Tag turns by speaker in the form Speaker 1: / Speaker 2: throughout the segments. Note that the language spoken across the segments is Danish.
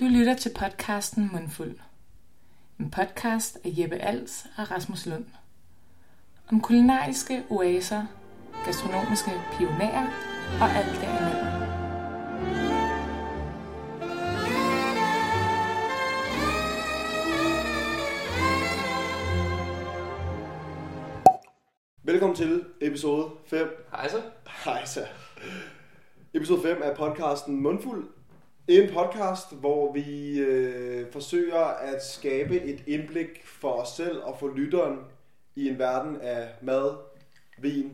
Speaker 1: Du lytter til podcasten Mundfuld. En podcast af Jeppe Als og Rasmus Lund. Om kulinariske oaser, gastronomiske pionerer og alt derimellem.
Speaker 2: Velkommen til episode 5.
Speaker 3: Hej så.
Speaker 2: Hej så. Episode 5 af podcasten Mundfuld. En podcast, hvor vi øh, forsøger at skabe et indblik for os selv og for lytteren i en verden af mad, vin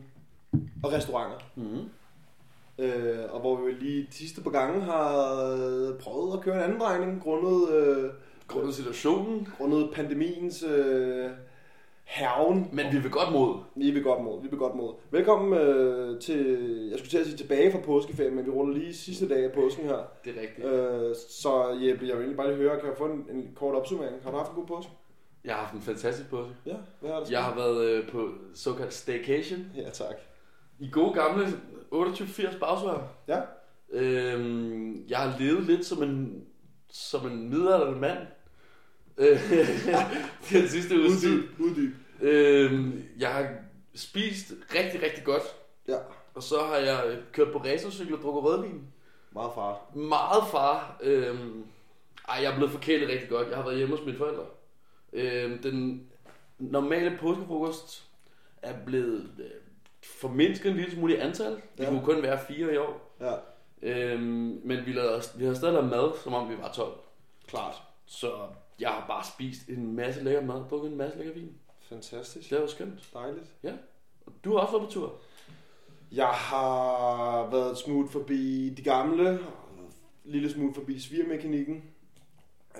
Speaker 2: og restauranter.
Speaker 3: Mhm.
Speaker 2: Øh, og hvor vi lige de sidste par gange har øh, prøvet at køre en anden drejning grundet, øh,
Speaker 3: Grundet situationen,
Speaker 2: grundet pandemiens øh, herven
Speaker 3: men vi vil godt mod.
Speaker 2: Vi vil godt mod, vi vil godt mod. Velkommen øh, til, jeg skulle til at sige tilbage fra påskeferien, men vi ruller lige sidste dag af påsken her.
Speaker 3: Det er rigtigt.
Speaker 2: Øh, så Jeppe, jeg vil egentlig bare lige høre, kan jeg få en, en kort opsummering? Har du haft en god påske?
Speaker 3: Jeg har haft en fantastisk påske.
Speaker 2: Ja, hvad har du
Speaker 3: Jeg har været øh, på såkaldt staycation.
Speaker 2: Ja, tak.
Speaker 3: I gode gamle 28-80 bagsvær.
Speaker 2: Ja.
Speaker 3: Øhm, jeg har levet lidt som en, som en midaldrende mand. Øh, den sidste uge tid.
Speaker 2: Uddyb, uddyb.
Speaker 3: Øhm, jeg har spist rigtig, rigtig godt.
Speaker 2: Ja,
Speaker 3: Og så har jeg øh, kørt på racercykel og drukket rødvin.
Speaker 2: meget far.
Speaker 3: Meget far. Øhm, ej, jeg er blevet forkælet rigtig godt. Jeg har været hjemme hos mine forældre. Øhm, den normale påskefrokost er blevet øh, formindsket en lille smule i antal. Det
Speaker 2: Ja.
Speaker 3: ja. kunne kun være fire i år.
Speaker 2: Ja,
Speaker 3: Øhm, men vi, lavede, vi har stadig lavet mad, som om vi var 12.
Speaker 2: klart.
Speaker 3: Så jeg har bare spist en masse lækker mad, drukket en masse lækker vin.
Speaker 2: Fantastisk.
Speaker 3: Det var skønt.
Speaker 2: Dejligt.
Speaker 3: Og Du har også været på tur.
Speaker 2: Jeg har været et smut forbi de gamle, en lille smut forbi svigermekanikken.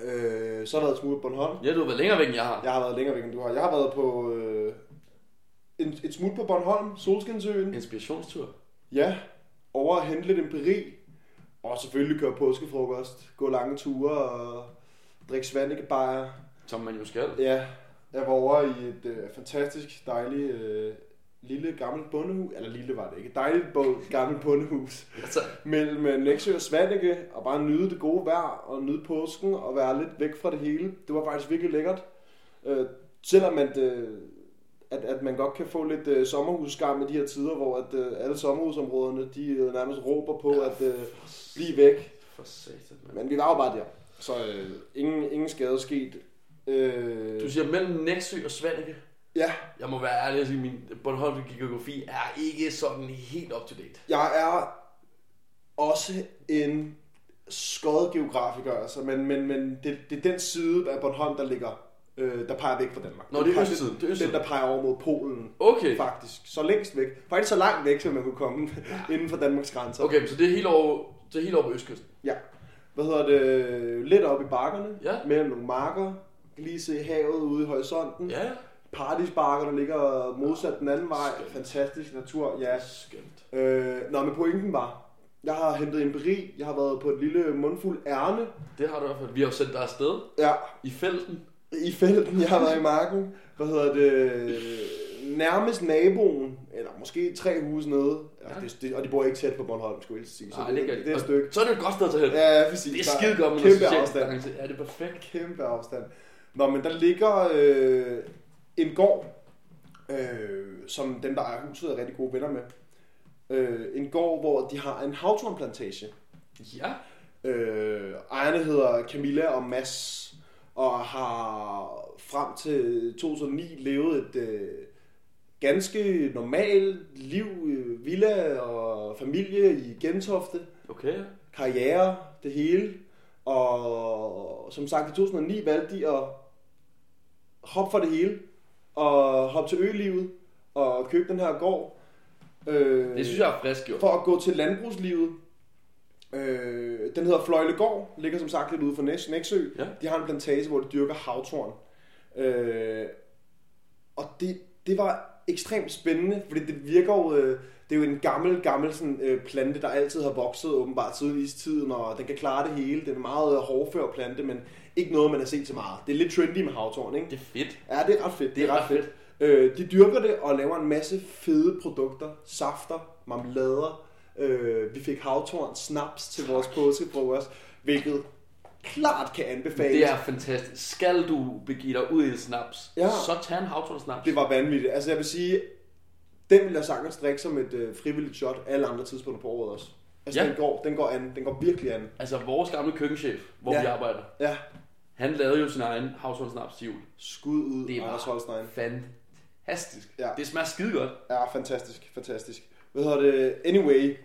Speaker 2: Øh, så har der været et smut på Bornholm.
Speaker 3: Ja, du har været længere væk, end jeg har.
Speaker 2: Jeg har været længere væk, end du har. Jeg har været på øh, en, et smut på Bornholm, Solskinsøen.
Speaker 3: Inspirationstur.
Speaker 2: Ja, over at hente lidt empiri. Og selvfølgelig køre påskefrokost, gå lange ture og drikke svanikebajer.
Speaker 3: Som man jo skal.
Speaker 2: Ja, jeg var over i et øh, fantastisk dejligt øh, lille gammelt bondehus. Eller lille var det ikke. Et dejligt bo, gammelt bondehus.
Speaker 3: Altså,
Speaker 2: Mellem øh, Nexø og Svanike. Og bare nyde det gode vejr og nyde påsken og være lidt væk fra det hele. Det var faktisk virkelig lækkert. Øh, selvom at, øh, at, at man godt kan få lidt øh, sommerhusskam i de her tider, hvor at, øh, alle sommerhusområderne de øh, nærmest råber på at øh, blive væk.
Speaker 3: for satan, mand.
Speaker 2: Men vi var jo bare der. Så øh, ingen, ingen skade sket. Øh,
Speaker 3: Du siger mellem Nexø og Svanike.
Speaker 2: Ja.
Speaker 3: Jeg må være ærlig og sige, at min Bornholmske geografi er ikke sådan helt up to date.
Speaker 2: Jeg er også en skød geografiker, altså, men, men, men det, det er den side af Bornholm, der ligger, øh, der peger væk fra Danmark.
Speaker 3: Nå,
Speaker 2: Den
Speaker 3: det er
Speaker 2: peger-
Speaker 3: østsiden, det er østsiden.
Speaker 2: Den, der peger over mod Polen,
Speaker 3: Okay,
Speaker 2: faktisk. Så længst væk. Faktisk så langt væk, som man kunne komme inden for Danmarks grænser.
Speaker 3: okay så det er helt over, det er helt over på Østkysten.
Speaker 2: Ja. Hvad hedder det? Lidt op i bakkerne,
Speaker 3: Ja.
Speaker 2: mellem nogle marker, lige se havet ude i horisonten.
Speaker 3: Ja, ja.
Speaker 2: Paradisbakker, der ligger modsat den anden vej.
Speaker 3: Skønt.
Speaker 2: Fantastisk natur,
Speaker 3: det
Speaker 2: ja.
Speaker 3: er skønt.
Speaker 2: Øh, nå, men pointen var, jeg har hentet en beri, jeg har været på et lille mundfuld ærne
Speaker 3: Det har du i hvert fald. Vi har jo sendt dig afsted
Speaker 2: ja,
Speaker 3: i felten.
Speaker 2: i felten, jeg har været i marken. Hvad hedder det? Nærmest naboen, eller måske tre huse nede, ja.
Speaker 3: Ja.
Speaker 2: det, det, og de bor ikke tæt på Bornholm, skulle jeg lige sige. Så
Speaker 3: Nej,
Speaker 2: det,
Speaker 3: det, gør
Speaker 2: det, det er et
Speaker 3: Og
Speaker 2: stykke.
Speaker 3: Så er det jo et godt sted at tage hen.
Speaker 2: Ja, præcis.
Speaker 3: det er
Speaker 2: Der
Speaker 3: skide godt med noget
Speaker 2: kæmpe
Speaker 3: social
Speaker 2: afstand.
Speaker 3: distance. Ja, det er perfekt.
Speaker 2: Kæmpe afstand. Nå, men der ligger øh, en gård, øh, som dem, der ejer huset, er rigtig gode venner med. Øh, en gård, hvor de har en havtornplantage.
Speaker 3: Ja,
Speaker 2: Øh, ejerne hedder Camilla og Mads, og har frem til 2009 levet et øh, ganske normalt liv, øh, villa og familie i Gentofte,
Speaker 3: okay.
Speaker 2: Øh. karriere, det hele. Og som sagt, i 2009 valgte de at hoppe for det hele, og hoppe til ølivet, og købe den her gård. Øh,
Speaker 3: Det synes jeg er frisk gjort.
Speaker 2: for at gå til landbrugslivet. Øh, den hedder Fløjlegård, ligger som sagt lidt ude for Næs, Næksø.
Speaker 3: Ja.
Speaker 2: De har en plantage, hvor de dyrker havtorn. Øh, og det, det var ekstremt spændende, fordi det virker jo, øh, det er jo en gammel, gammel sådan, øh, plante, der altid har vokset åbenbart siden istiden, og den kan klare det hele. Det er en meget øh, hårdfør plante, men ikke noget, man har set så meget. Det er lidt trendy med havtorn, ikke?
Speaker 3: Det er fedt.
Speaker 2: Ja, det er ret fedt. Det er ret fedt. Øh, de dyrker det og laver en masse fede produkter. Safter, marmelader. Øh, vi fik havtorn, snaps til vores påskefrokost, hvilket klart kan anbefales.
Speaker 3: Det er fantastisk. Skal du begive dig ud i en snaps,
Speaker 2: Ja.
Speaker 3: ja. så tag en havtorn snaps.
Speaker 2: Det var vanvittigt. Altså jeg vil sige, den vil jeg sagtens drikke som et øh, frivilligt shot alle andre tidspunkter på året også. Altså ja.
Speaker 3: Ja.
Speaker 2: den, går, den går an. Den går virkelig an.
Speaker 3: Altså vores gamle køkkenchef, hvor
Speaker 2: Ja.
Speaker 3: ja. vi arbejder,
Speaker 2: Ja.
Speaker 3: han lavede jo sin egen havtorn snaps til jul.
Speaker 2: Skud ud,
Speaker 3: Det
Speaker 2: det
Speaker 3: var-
Speaker 2: Anders Holstein.
Speaker 3: Fantastisk.
Speaker 2: Ja.
Speaker 3: Ja. Det smager skide godt.
Speaker 2: Ja, fantastisk, fantastisk. Hvad hedder det? Anyway,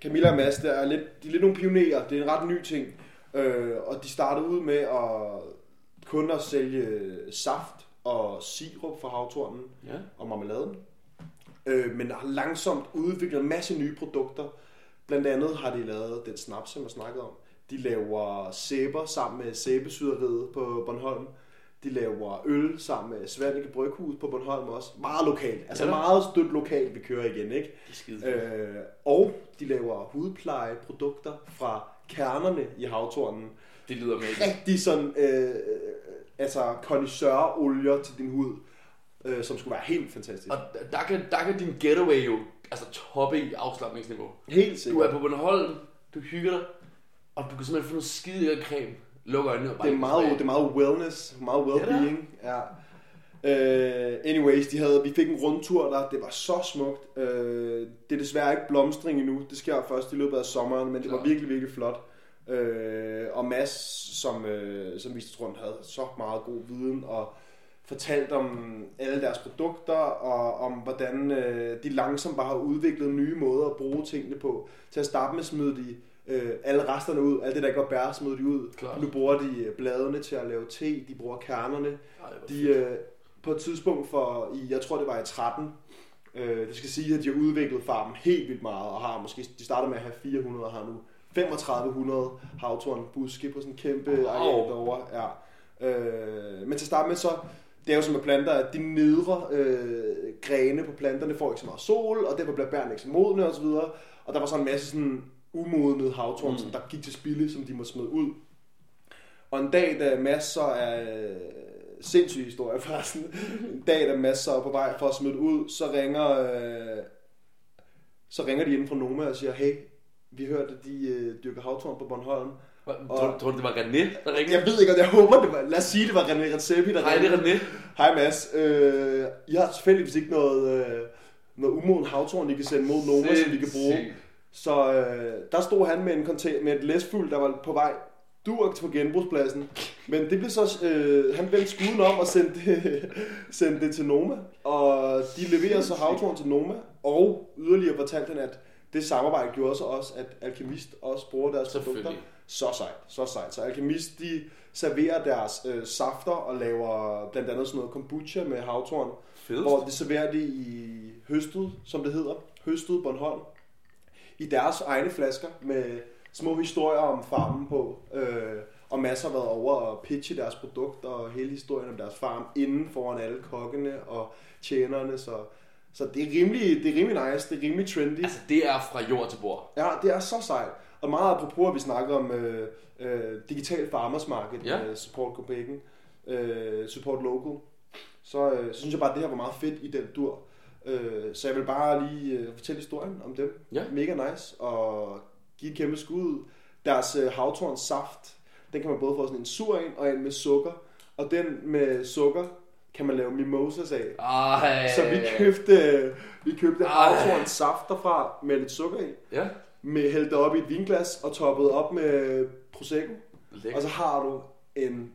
Speaker 2: Camilla og Mads, der er lidt, de er lidt nogle pionerer. Det er en ret ny ting. Øh, og de startede ud med at kun at sælge saft og sirup fra havtornen
Speaker 3: Ja.
Speaker 2: og marmeladen. Øh, men har langsomt udviklet en masse nye produkter. Blandt andet har de lavet den snaps, som jeg snakkede om. De laver sæber sammen med sæbesyderiet på Bornholm. De laver øl sammen med Svanike Bryghus på Bornholm også. Meget lokalt. Altså
Speaker 3: Ja.
Speaker 2: meget stødt lokalt, vi kører igen, ikke?
Speaker 3: Det er skide øh.
Speaker 2: Øh, og de laver hudplejeprodukter fra kernerne i havtornen.
Speaker 3: Det lyder mega.
Speaker 2: Rigtig sådan, øh, altså connoisseurolier til din hud, øh, som skulle være helt fantastisk.
Speaker 3: Og der kan, der kan din getaway jo altså toppe i afslappningsniveau.
Speaker 2: Helt
Speaker 3: Du
Speaker 2: sikkert.
Speaker 3: er på Bornholm, du hygger dig, og du kan simpelthen få noget skide lækker creme. Luk øjnene og
Speaker 2: Det
Speaker 3: bare
Speaker 2: er
Speaker 3: læg dig
Speaker 2: meget,
Speaker 3: tilbage.
Speaker 2: det er meget wellness, meget well-being. Ja. Uh, anyways, de havde, vi fik en rundtur der, det var så smukt. Uh, det er desværre ikke blomstring endnu, det sker først i løbet af sommeren, men det var
Speaker 3: Nå.
Speaker 2: virkelig, virkelig flot. Uh, og Mads, som, uh, som viste os rundt, havde så meget god viden og fortalt om alle deres produkter og om hvordan øh, de langsomt bare har udviklet nye måder at bruge tingene på. Til at starte med smed de øh, alle resterne ud, alt det der ikke var bær, smed de ud.
Speaker 3: Klart.
Speaker 2: Nu bruger de øh, bladene til at lave te, de bruger kernerne.
Speaker 3: Ej, hvor
Speaker 2: De, øh, på et tidspunkt for, i, jeg tror det var i 13, øh, det skal sige, at de har udviklet farmen helt vildt meget, og har måske, de startede med at have 400, og har nu 3500 havtorn buske på sådan en kæmpe
Speaker 3: Wow.
Speaker 2: areal derovre. Ja. Øh, men til at starte med så, det er jo som med planter, at de nedre øh, grene på planterne får ikke så meget sol, og derfor bliver bærene ikke så modne osv. Og der var så en masse sådan umodnede havtorn, mm. som der gik til spilde, som de må smide ud. Og en dag, da Mads så er... øh, Sindssyg historie forresten. En dag, da Mads så er på vej for at smide det ud, så ringer, øh, så ringer de inden fra Noma og siger, hey, vi hørte, at de øh, dyrker havtorn på Bornholm.
Speaker 3: fedt.
Speaker 2: og-
Speaker 3: Tror, du- tror du, det var René, der ringede?
Speaker 2: Jeg ved ikke, om jeg håber, det var... Lad os sige, det var René Redzepi, der
Speaker 3: Nej, det er René.
Speaker 2: Hej Mads. Øh, I har selvfølgelig ikke noget, øh, noget umoden havtorn, I kan sende mod Noma, som vi kan bruge.
Speaker 3: Sindssygt.
Speaker 2: Så øh, der stod han med, en container, med et læsfuld, der var på vej durk på genbrugspladsen. Men det blev så, øh, han vendte skuden om og sendte, det- sendte det til Noma. Og de leverer så havtorn til Noma. Og yderligere fortalte han, at det samarbejde gjorde så også, at Alkemist også bruger deres produkter.
Speaker 3: Selvfølgelig.
Speaker 2: Så sejt, så sejt. Så Alkemist, de serverer deres øh, safter og laver blandt andet sådan noget kombucha med havtorn.
Speaker 3: Fedest.
Speaker 2: Hvor det serverer det i høstet, som det hedder. Høstet Bornholm. I deres egne flasker med små historier om farmen på. Øh, og masser har været over og pitche deres produkt og hele historien om deres farm inden foran alle kokkene og tjenerne. Så, så det, er rimelig, det er rimelig nice, det er rimelig trendy.
Speaker 3: Altså, det er fra jord til bord.
Speaker 2: Ja, det er så sejt. Og meget apropos, at vi snakker om øh, øh, digital farmers market, ja.
Speaker 3: Ja.
Speaker 2: øh, support Copenhagen, øh, support local, så, øh, så synes jeg bare, at det her var meget fedt i den dur. Øh, så jeg vil bare lige øh, fortælle historien om dem.
Speaker 3: Ja.
Speaker 2: Mega nice. Og give et kæmpe skud. ud. Deres øh, havtorns saft, den kan man både få sådan en sur en og en med sukker. Og den med sukker kan man lave mimosas af.
Speaker 3: Ej.
Speaker 2: Så vi købte, øh, vi købte
Speaker 3: Ej.
Speaker 2: havtorns saft derfra med lidt sukker i
Speaker 3: Ja,
Speaker 2: med hældte det op i et vinglas og toppet op med prosecco.
Speaker 3: lækker.
Speaker 2: Og så har du en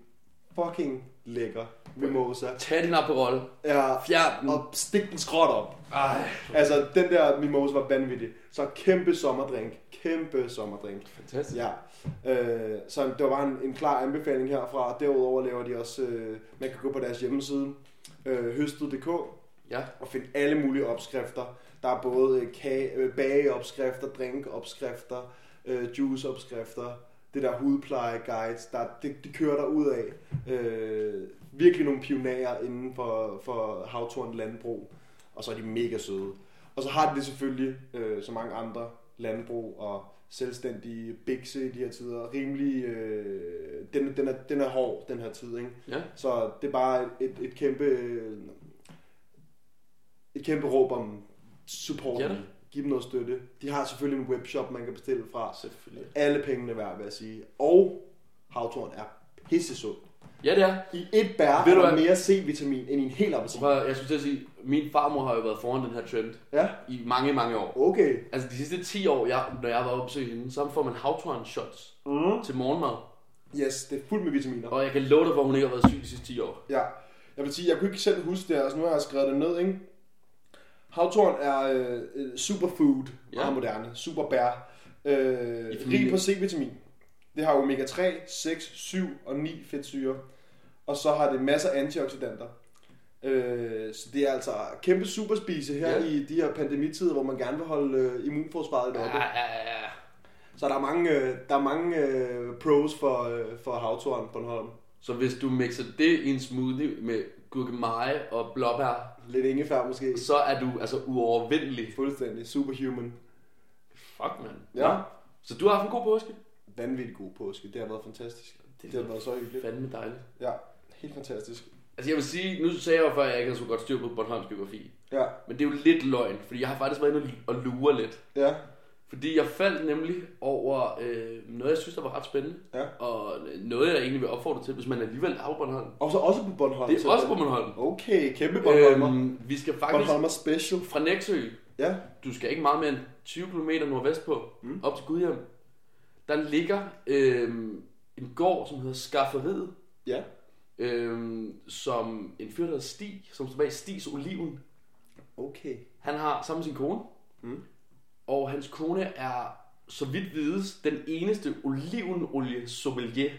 Speaker 2: fucking lækker mimosa.
Speaker 3: Tag din Aperol.
Speaker 2: Ja,
Speaker 3: Fjern den.
Speaker 2: og stik den skråt op.
Speaker 3: Ej.
Speaker 2: Altså, den der mimosa var vanvittig. Så kæmpe sommerdrink. Kæmpe sommerdrink.
Speaker 3: Fantastisk.
Speaker 2: Ja, øh, så det var bare en, en klar anbefaling herfra. Derudover laver de også, øh, man kan gå på deres hjemmeside, øh, høstet.dk,
Speaker 3: Ja.
Speaker 2: og finde alle mulige opskrifter. Der er både øh, kage, øh, bageopskrifter, drinkopskrifter, øh, juiceopskrifter, det der hudplejeguides, der, det, det kører der ud af. Øh, virkelig nogle pionerer inden for, for havtorn landbrug, og så er de mega søde. Og så har de det selvfølgelig, øh, som mange andre landbrug og selvstændige bikse i de her tider, rimelig, øh, den, den, er, den er hård den her tid, ikke?
Speaker 3: Ja.
Speaker 2: Så det er bare et, et kæmpe øh, et kæmpe råb om support.
Speaker 3: Ja da.
Speaker 2: Giv dem noget støtte. De har selvfølgelig en webshop, man kan bestille fra.
Speaker 3: Selvfølgelig.
Speaker 2: Alle pengene værd, vil jeg sige. Og Havtorn er pissesund.
Speaker 3: Ja, det er.
Speaker 2: I et bær
Speaker 3: Ved
Speaker 2: Ved
Speaker 3: du
Speaker 2: er der
Speaker 3: hvad?
Speaker 2: mere C-vitamin end i en hel appelsin.
Speaker 3: Prøv, at- jeg skulle til at sige, min farmor har jo været foran den her trend
Speaker 2: Ja,
Speaker 3: i mange, mange år.
Speaker 2: okay.
Speaker 3: Altså de sidste 10 år, jeg, når jeg var oppe og besøge hende, så får man havtorn shots
Speaker 2: Mm.
Speaker 3: til morgenmad.
Speaker 2: Yes, det er fuldt med vitaminer.
Speaker 3: Og jeg kan love dig, for at hun ikke har været syg de sidste 10 år.
Speaker 2: Ja. Jeg vil sige, jeg kunne ikke selv huske det her, altså nu har jeg skrevet det ned, ikke? Havtorn er øh, øh, superfood,
Speaker 3: Ja.
Speaker 2: meget moderne, superbær, øh,
Speaker 3: I familie.
Speaker 2: rig på C-vitamin. Det har omega 3, 6, 7 og 9 fedtsyre, og så har det masser af antioxidanter. Øh, så det er altså kæmpe superspise her
Speaker 3: Ja.
Speaker 2: ja. i de her pandemitider, hvor man gerne vil holde øh, immunforsvaret
Speaker 3: Ja,
Speaker 2: oppe. Ja.
Speaker 3: ja, ja, ja.
Speaker 2: Så der er mange, øh, der er mange øh, pros for, øh, for havtorn på Bornholm.
Speaker 3: Så hvis du mixer det i en smoothie med gurkemeje og blåbær,
Speaker 2: Lidt ingefær måske.
Speaker 3: så er du altså uovervindelig.
Speaker 2: Fuldstændig superhuman.
Speaker 3: Fuck, mand.
Speaker 2: Ja.
Speaker 3: Nå. Så du har haft en god påske.
Speaker 2: vanvittigt god påske. Det har været fantastisk. Det, det har været så hyggeligt.
Speaker 3: Fandme dejligt.
Speaker 2: Ja, helt fantastisk.
Speaker 3: Altså jeg vil sige, nu sagde jeg jo før, at jeg ikke havde så godt styr på Bornholms geografi.
Speaker 2: Ja,
Speaker 3: Men det er jo lidt løgn, fordi jeg har faktisk været inde og lure lidt.
Speaker 2: ja,
Speaker 3: Fordi jeg faldt nemlig over øh, noget, jeg synes, der var ret spændende.
Speaker 2: ja.
Speaker 3: Og øh, noget, jeg egentlig vil opfordre til, hvis man alligevel er på Bornholm.
Speaker 2: Og så også på Bornholm.
Speaker 3: Det er også på
Speaker 2: Bornholm.
Speaker 3: Bornholm.
Speaker 2: Okay, kæmpe Bornholmer. Øhm,
Speaker 3: vi skal faktisk Bornholm.
Speaker 2: Bornholmer special.
Speaker 3: fra Næksø.
Speaker 2: Ja,
Speaker 3: Du skal ikke meget mere end 20 km nordvestpå, mm. op til Gudhjem. Der ligger øh, en gård, som hedder Skafferiet.
Speaker 2: ja.
Speaker 3: Øh, som en fyr, der hedder Stig, som står bag Stigs Oliven.
Speaker 2: Okay.
Speaker 3: Han har sammen med sin kone.
Speaker 2: Mm.
Speaker 3: Og hans kone er, så vidt vides, den eneste olivenolie sommelier,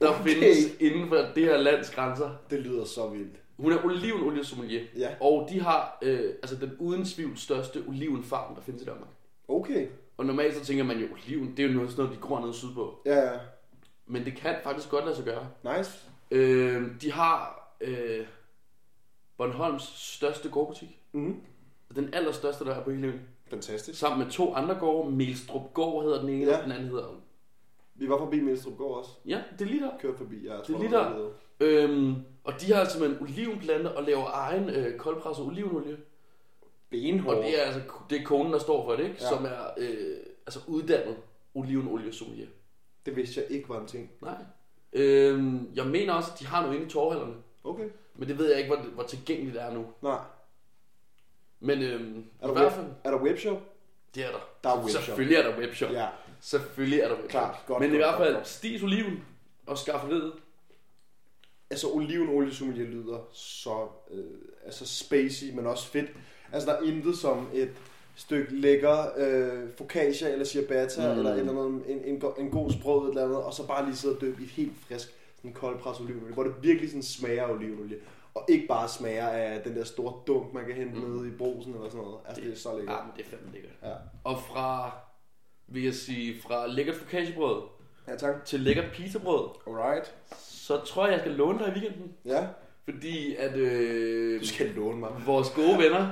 Speaker 3: der
Speaker 2: Okay.
Speaker 3: okay. findes inden for det her lands grænser.
Speaker 2: Det lyder så vildt.
Speaker 3: Hun er olivenolie sommelier.
Speaker 2: Ja.
Speaker 3: Og de har øh, altså den uden tvivl største olivenfarm, der findes i Danmark.
Speaker 2: Okay.
Speaker 3: Og normalt så tænker man jo, oliven, det er jo noget, sådan noget, de gror nede sydpå.
Speaker 2: Ja, ja.
Speaker 3: Men det kan faktisk godt lade sig gøre.
Speaker 2: Nice.
Speaker 3: Øh, de har øh, Bornholms største gårdbutik.
Speaker 2: Mm.
Speaker 3: Den allerstørste, der er på hele øen.
Speaker 2: Fantastisk.
Speaker 3: sammen med to andre gårde. Melstrup Gård hedder den ene,
Speaker 2: Ja.
Speaker 3: ja. og den anden hedder...
Speaker 2: Vi var forbi Mindstrup Gård også.
Speaker 3: Ja, det er lige der.
Speaker 2: Kørt forbi, jeg tror.
Speaker 3: Det er lige
Speaker 2: jeg
Speaker 3: der.
Speaker 2: ved.
Speaker 3: Øhm, og de har simpelthen olivenplanter og laver egen øh, koldpresset olivenolie. Og
Speaker 2: Benhård.
Speaker 3: det er altså det er konen, der står for det, ikke?
Speaker 2: Ja.
Speaker 3: Ja. Som er øh, altså uddannet olivenolie sommelier.
Speaker 2: Det vidste jeg ikke var en ting.
Speaker 3: Nej. Øhm, jeg mener også, at de har noget inde i torvhallerne.
Speaker 2: Okay.
Speaker 3: Men det ved jeg ikke, hvor, hvor tilgængeligt det er nu.
Speaker 2: Nej.
Speaker 3: Men øhm,
Speaker 2: Er
Speaker 3: i
Speaker 2: der,
Speaker 3: hvert fald,
Speaker 2: web, er der webshop?
Speaker 3: det er der.
Speaker 2: Der er webshop.
Speaker 3: Selvfølgelig er der webshop.
Speaker 2: Ja.
Speaker 3: Selvfølgelig er der webshop.
Speaker 2: Klart. Godt,
Speaker 3: Men
Speaker 2: godt,
Speaker 3: i hvert
Speaker 2: godt,
Speaker 3: fald,
Speaker 2: godt.
Speaker 3: stis oliven og skafferiet.
Speaker 2: altså olivenolie sommelier lyder så øh, altså spacey, men også fedt. Altså der er intet som et stykke lækker øh, focaccia eller ciabatta mm.
Speaker 3: Mm.
Speaker 2: eller et eller andet, en, en, go- en god sprød et eller andet, og så bare lige sidde og døbe i et helt frisk sådan koldpres olivenolie, hvor det virkelig sådan smager af olivenolie. Og ikke bare smager af den der store dunk, man kan hente mm. Ah. nede i brosen eller sådan noget. Altså det, er så lækkert.
Speaker 3: Ja, Ah, men det er fandme lækkert.
Speaker 2: Ja.
Speaker 3: Og fra, vil jeg sige, fra lækkert focacciabrød
Speaker 2: ja, tak.
Speaker 3: til lækkert pizzabrød,
Speaker 2: Alright.
Speaker 3: så tror jeg, jeg skal låne dig i weekenden.
Speaker 2: Ja,
Speaker 3: Fordi at øh,
Speaker 2: du skal låne mig.
Speaker 3: vores gode venner,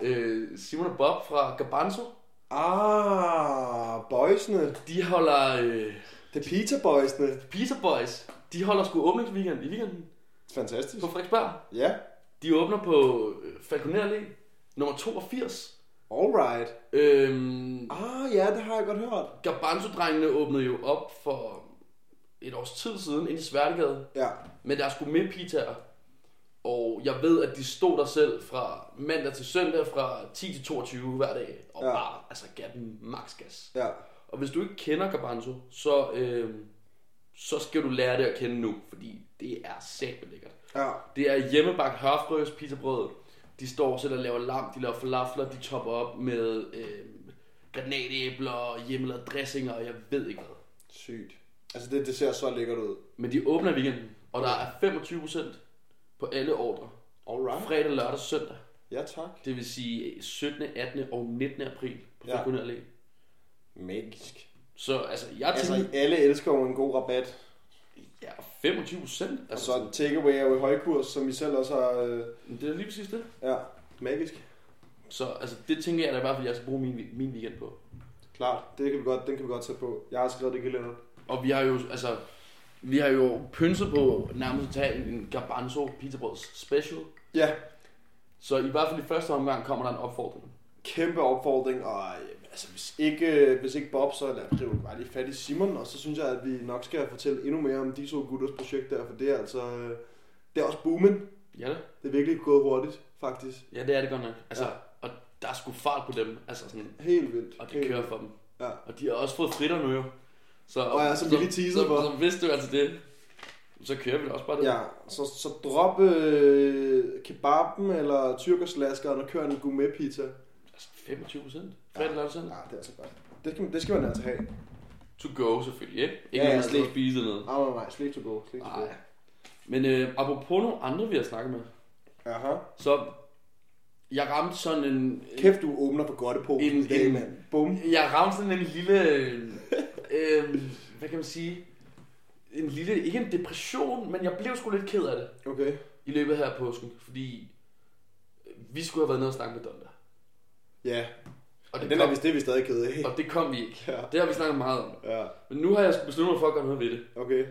Speaker 3: øh, Simon og Bob fra Gabanzo,
Speaker 2: Ah, boysene.
Speaker 3: de holder øh,
Speaker 2: Det er pizza boysene.
Speaker 3: Pizza Boys. De holder sgu åbningsweekend i weekenden
Speaker 2: Fantastisk.
Speaker 3: på Frederiksberg.
Speaker 2: Ja,
Speaker 3: De åbner på øh, Falconer Allé, nummer 82.
Speaker 2: alright.
Speaker 3: Øhm,
Speaker 2: Ah, ja, det har jeg godt hørt.
Speaker 3: Gabanzo-drengene åbnede jo op for et års tid siden ind i Sværtegade.
Speaker 2: Ja,
Speaker 3: Men der er sgu med pizzaer. Og jeg ved, at de stod der selv fra mandag til søndag fra 10 til 22 hver dag. Og
Speaker 2: Ja.
Speaker 3: ja. bare altså, gav den max gas.
Speaker 2: ja.
Speaker 3: Og hvis du ikke kender Garbanzo, så, øh, så skal du lære det at kende nu. Fordi det er sæt lækkert.
Speaker 2: Ja,
Speaker 3: Det er hjemmebagt hørfrøs pizzabrød. De står selv og laver lam, de laver falafler, de topper op med øh, granatæbler, hjemmelavede dressinger, og jeg ved ikke hvad.
Speaker 2: sygt. Altså, det, det ser så lækkert ud.
Speaker 3: Men de åbner i weekenden, og der er 25% på alle ordre.
Speaker 2: Alright.
Speaker 3: Fredag, lørdag, søndag.
Speaker 2: Ja, tak.
Speaker 3: Det vil sige 17., 18. og 19. april på
Speaker 2: Ja.
Speaker 3: ja. Falconer Allé.
Speaker 2: Magisk.
Speaker 3: Så altså, jeg
Speaker 2: Altså,
Speaker 3: tænker,
Speaker 2: alle elsker jo en god rabat.
Speaker 3: ja, 25 procent.
Speaker 2: Og
Speaker 3: Altså,
Speaker 2: så en takeaway er jo i højkurs, som I selv også har... Øh,
Speaker 3: det er lige præcis det.
Speaker 2: ja, magisk.
Speaker 3: Så altså, det tænker jeg da i hvert fald, jeg skal bruge min, min weekend på.
Speaker 2: Klart, det kan vi godt, den kan vi godt tage på. Jeg har skrevet det i kalenderen.
Speaker 3: Og vi har jo, altså, vi har jo pynset på nærmest at tage en garbanzo pizzabrøds special.
Speaker 2: Ja,
Speaker 3: Så i hvert fald i første omgang kommer der en opfordring.
Speaker 2: kæmpe opfordring, og øh, altså, hvis ikke, hvis ikke Bob, så lad os drive bare lige fat i Simon, og så synes jeg, at vi nok skal fortælle endnu mere om de to gutters projekt der, for det er altså, øh, det er også booming.
Speaker 3: Ja, da.
Speaker 2: Det er virkelig gået hurtigt, faktisk.
Speaker 3: ja, det er det godt nok. Altså,
Speaker 2: Ja.
Speaker 3: ja. og der er sgu fart på dem, altså sådan,
Speaker 2: Helt vildt.
Speaker 3: og det
Speaker 2: Helt
Speaker 3: kører
Speaker 2: vildt.
Speaker 3: for dem.
Speaker 2: Ja.
Speaker 3: Og de har også fået fritter nu jo. Så,
Speaker 2: Og ja, som vi lige teasede
Speaker 3: så,
Speaker 2: for.
Speaker 3: Så, hvis du altså det, så kører vi da også bare det.
Speaker 2: Ja, så, så drop øh, kebaben eller tyrkerslaskeren og kør en gourmet pizza.
Speaker 3: Altså 25 procent. Fredag lørdag søndag.
Speaker 2: Ja, det er altså godt. Det skal, man- det skal man altså have.
Speaker 3: To go selvfølgelig, ikke? Ikke
Speaker 2: Ja,
Speaker 3: ja,
Speaker 2: ja,
Speaker 3: man slet
Speaker 2: altså.
Speaker 3: ikke spise noget.
Speaker 2: Nej, nej, nej, slik to go. Slik to go.
Speaker 3: Nej. Men øh, apropos nogle andre, vi har snakket med.
Speaker 2: Aha.
Speaker 3: Så jeg ramte sådan en...
Speaker 2: Kæft, du åbner for godt på
Speaker 3: En-
Speaker 2: i dag,
Speaker 3: en-
Speaker 2: mand. Bum.
Speaker 3: Jeg ramte sådan en lille... Øh, øh, hvad kan man sige? En lille... Ikke en depression, men jeg blev sgu lidt ked af det
Speaker 2: Okay.
Speaker 3: i løbet her af påsken. Fordi vi skulle have været nede og snakke med Donda.
Speaker 2: Ja,
Speaker 3: Og det,
Speaker 2: den er
Speaker 3: kom,
Speaker 2: vi, det er vi stadig kede af.
Speaker 3: og det kom vi ikke.
Speaker 2: Ja.
Speaker 3: Det har vi snakket meget om.
Speaker 2: Ja,
Speaker 3: Men nu har jeg sgu besluttet mig for at gøre noget ved det.
Speaker 2: okay.